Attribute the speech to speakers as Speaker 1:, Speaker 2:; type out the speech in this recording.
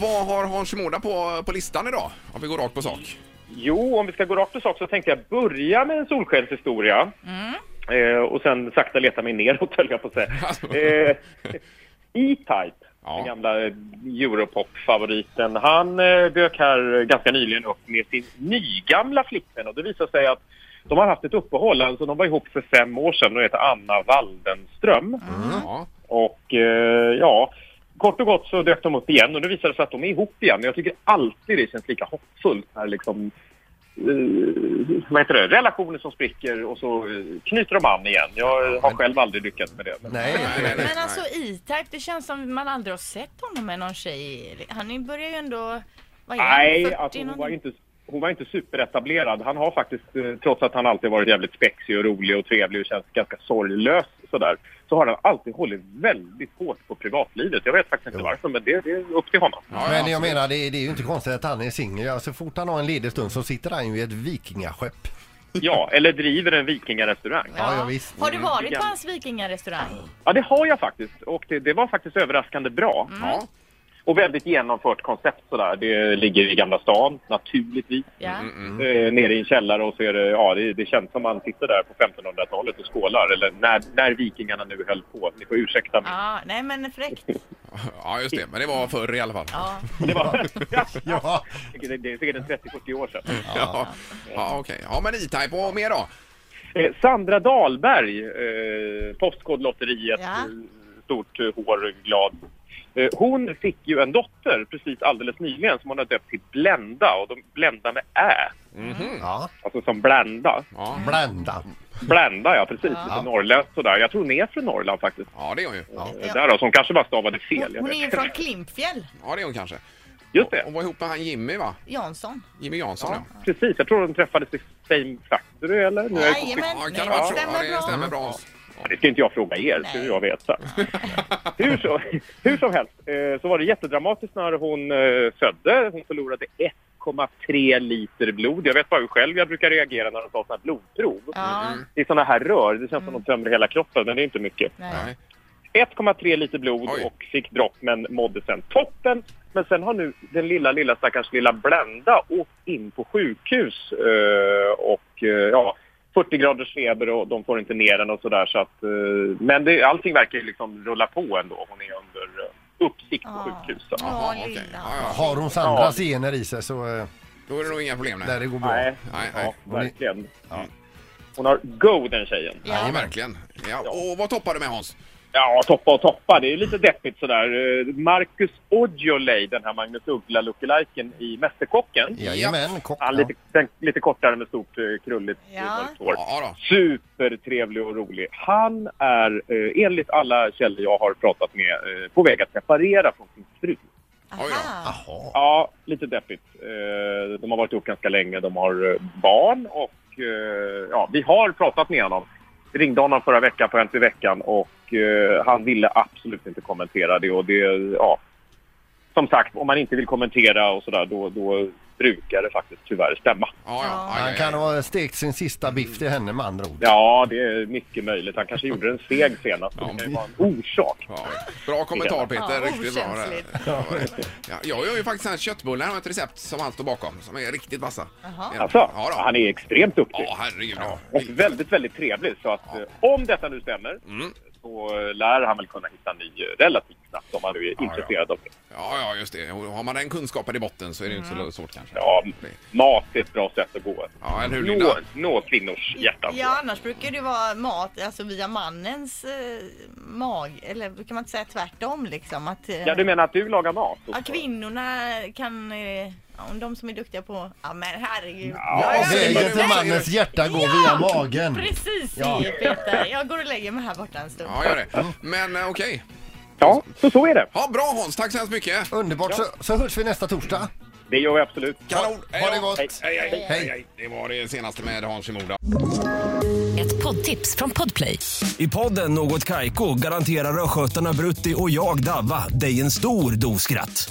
Speaker 1: vad har Hans Moda på, på listan idag? Om vi går rakt på sak.
Speaker 2: Jo, om vi ska gå rakt på sak så tänkte jag börja med en solskenshistoria. Eh, och sen sakta leta mig neråt, höll jag på att säga. Eh, E-Type,
Speaker 1: Ja.
Speaker 2: den gamla eh, Europop-favoriten, han eh, dök här eh, ganska nyligen upp med sin nygamla flickvän och det visar sig att de har haft ett uppehåll, alltså de var ihop för fem år sedan och heter Anna Waldenström.
Speaker 1: Ja.
Speaker 2: Och eh, ja, kort och gott så dök de upp igen och nu visar det sig att de är ihop igen. Men jag tycker alltid det känns lika hoppfullt när liksom, eh, vad heter det, relationer som spricker och så eh, knyter de an igen. Jag har själv aldrig lyckats med det. Men,
Speaker 3: Nej.
Speaker 1: Nej, nej, nej.
Speaker 4: Men alltså E-Type, det känns som man aldrig har sett honom med någon tjej. Han börjar ju ändå... Vad är han,
Speaker 2: nej,
Speaker 4: 40
Speaker 2: alltså, hon var
Speaker 4: någonting?
Speaker 2: ju inte hon var inte superetablerad. Han har faktiskt, eh, trots att han alltid varit jävligt spexig och rolig och trevlig och känns ganska sorglös sådär, så har han alltid hållit väldigt hårt på privatlivet. Jag vet faktiskt inte varför, men det, det är upp till honom.
Speaker 1: Ja,
Speaker 3: Men
Speaker 1: ja,
Speaker 3: jag menar, det, det är ju inte konstigt att han är singel. Ja, Så fort han har en ledig stund så sitter han ju i ett vikingaskepp.
Speaker 2: Ja, eller driver en vikingarestaurang.
Speaker 3: Ja, ja, visst.
Speaker 4: Har du
Speaker 2: Mm.
Speaker 4: varit på hans vikingarestaurang?
Speaker 2: Ja, det har jag faktiskt. Och det, det var faktiskt överraskande bra.
Speaker 1: Ja.
Speaker 2: Och väldigt genomfört koncept sådär. Det ligger i Gamla stan, naturligtvis.
Speaker 4: Ja.
Speaker 1: Mm,
Speaker 2: Eh, nere i en källare och så är det, ja, det, det känns som man sitter där på 1500-talet och skålar. Eller när, när vikingarna nu höll på. Ni får ursäkta mig.
Speaker 4: Ja, nej men fräckt.
Speaker 1: ja, just det. Men det var förr i alla fall. Ja,
Speaker 4: Ja.
Speaker 2: Det, var,
Speaker 3: Ja,
Speaker 2: det, det är säkert en 30-40 år sedan.
Speaker 1: ja. okej. Ja, men E-Type och vad mer då?
Speaker 2: Eh, Sandra Dahlberg, eh, Postkodlotteriet,
Speaker 4: Ja.
Speaker 2: eh, stort eh, hår, glad. Eh, hon fick ju en dotter precis alldeles nyligen som hon har döpt till Blenda och de Blenda med Ä,
Speaker 3: ja.
Speaker 2: alltså som Blenda.
Speaker 1: Mhm. Ja,
Speaker 3: Blända.
Speaker 2: Blenda ja, precis,
Speaker 4: Ja.
Speaker 2: lite norrländskt sådär. Jag tror hon är från Norrland faktiskt.
Speaker 1: ja det är hon ju. Ja,
Speaker 2: Eh, Där då, så hon kanske bara stavade fel.
Speaker 4: Hon,
Speaker 2: jag
Speaker 4: hon är
Speaker 2: vet.
Speaker 4: ju från Klimpfjäll,
Speaker 1: det är hon kanske.
Speaker 2: Just det,
Speaker 1: Hon var ihop med han Jimmy, va?
Speaker 4: Jansson.
Speaker 1: Jimmy Jansson, ja.
Speaker 2: precis. Jag tror de träffades i Fame Factory eller? Nu är jag-
Speaker 4: Jajamän,
Speaker 1: Ja,
Speaker 4: nej,
Speaker 1: det kan vara så.
Speaker 4: stämmer
Speaker 1: Ja, det stämmer
Speaker 4: bra.
Speaker 1: bra.
Speaker 2: Det ska inte jag fråga er,
Speaker 4: Nej.
Speaker 2: hur jag vet. Så. hur, så, hur som helst eh, så var det jättedramatiskt när hon eh, födde. Hon förlorade 1,3 liter blod. Jag vet bara hur själv jag brukar reagera när de tar såna här blodprov.
Speaker 4: Ja,
Speaker 1: mm.
Speaker 2: Det är såna här rör, det känns som de tömmer hela kroppen, men det är inte mycket.
Speaker 4: nej.
Speaker 2: 1,3 liter blod
Speaker 1: Oj.
Speaker 2: och fick dropp, men mådde sen toppen. Men sen har nu den lilla, lilla stackars lilla Blenda åkt in på sjukhus eh, och eh, ja, 40 graders feber och de får inte ner den och sådär. Så att, eh, men det, allting verkar ju liksom rulla på ändå. Hon är under eh, uppsikt på
Speaker 4: Ah.
Speaker 2: sjukhus. Så.
Speaker 4: Ja,
Speaker 1: Ja, okej.
Speaker 4: lilla.
Speaker 1: Ja, ja.
Speaker 3: Har hon Sandras gener i sig så eh,
Speaker 1: Då är det nog inga problem.
Speaker 3: där
Speaker 1: Nej.
Speaker 3: det går bra.
Speaker 2: Nej,
Speaker 1: Nej, nej.
Speaker 2: ja, verkligen.
Speaker 3: Ja.
Speaker 2: Hon har go den tjejen.
Speaker 1: Ja,
Speaker 4: Ja.
Speaker 1: verkligen. Ja, och vad toppar du med, Hans?
Speaker 2: Ja, toppa och toppa. Det är lite deppigt sådär. Eh, Marcus Aujalay, den här Magnus Uggla-lookalikeen i Mästerkocken.
Speaker 3: Jajamän, kock.
Speaker 2: Ja, lite, den, lite kortare med stort eh, krulligt
Speaker 4: Ja.
Speaker 2: ja. hår.
Speaker 1: Ja, då.
Speaker 2: Supertrevlig och rolig. Han är eh, enligt alla källor jag har pratat med eh, på väg att separera från sin fru.
Speaker 1: Oj då.
Speaker 4: Aha.
Speaker 3: Jaha.
Speaker 2: Ja, lite deppigt. Eh, de har varit ihop ganska länge. De har eh, barn och eh, ja, vi har pratat med honom. Vi ringde honom förra veckan på Hänt i veckan och eh, han ville absolut inte kommentera det och det, ja. Som sagt, om man inte vill kommentera och sådär då, då brukar det faktiskt tyvärr stämma.
Speaker 1: Ja, ja. Aj,
Speaker 3: Han
Speaker 1: aj,
Speaker 3: kan
Speaker 1: aj.
Speaker 3: ha stekt sin sista biff till henne med andra ord.
Speaker 2: Ja, det är mycket möjligt. Han kanske gjorde en seg senast. Det kan ju vara en orsak.
Speaker 1: Ja, bra kommentar Peter,
Speaker 4: Ja,
Speaker 1: riktigt bra.
Speaker 4: okänsligt.
Speaker 1: Ja, ja, jag gör ju faktiskt en köttbullar har ett recept som han står bakom, som är riktigt vassa.
Speaker 4: Jaha.
Speaker 1: Ja,
Speaker 2: Alltså,
Speaker 1: ja, då.
Speaker 2: han är extremt duktig.
Speaker 1: Ja, herregud. Ja.
Speaker 2: Och väldigt, väldigt trevlig. Så att eh, om detta nu stämmer
Speaker 1: Mm.
Speaker 2: så eh, lär han väl kunna hitta en ny eh, relativt snabbt om han nu är
Speaker 1: ja.
Speaker 2: intresserad av det.
Speaker 1: ja, ja, just det. Och Har man den kunskapen i botten så är det ju inte
Speaker 4: Mm.
Speaker 1: så svårt kanske.
Speaker 2: Ja, mat är ett bra sätt att gå.
Speaker 1: Ja, eller hur
Speaker 2: Nå,
Speaker 1: Linda?
Speaker 2: nå kvinnors hjärtan.
Speaker 4: Ja, annars brukar det vara mat, alltså via mannens eh, mag, eller kan man inte säga tvärtom liksom? Att, eh,
Speaker 2: Ja, du menar att du lagar mat?
Speaker 4: ja, kvinnorna kan, eh, ja, om de som är duktiga på, ja men herregud.
Speaker 2: Ja,
Speaker 4: Jag
Speaker 3: Och
Speaker 4: gör
Speaker 1: det är
Speaker 4: det.
Speaker 1: ju-
Speaker 3: vägen till mannens hjärta går via magen.
Speaker 4: Precis
Speaker 3: Ja.
Speaker 4: det Peter, jag går och lägger mig här borta en stund.
Speaker 1: Ja, gör det. Men eh, okej.
Speaker 2: Ja, så så är det.
Speaker 1: Ja, bra Hans, tack så hemskt mycket.
Speaker 3: Underbart. Så, så hörs vi nästa torsdag.
Speaker 2: Det gör vi absolut.
Speaker 1: Kanon. Hej
Speaker 3: Ha det
Speaker 1: då.
Speaker 3: gott.
Speaker 2: Hej.
Speaker 1: Hej, hej,
Speaker 3: Hej.
Speaker 1: hej, hej. Det var det senaste med Hans i Moda.
Speaker 5: Ett poddtips från Podplay.
Speaker 6: I podden Något Kaiko garanterar östgötarna Brutti och jag, Davva, dig en stor dos skratt.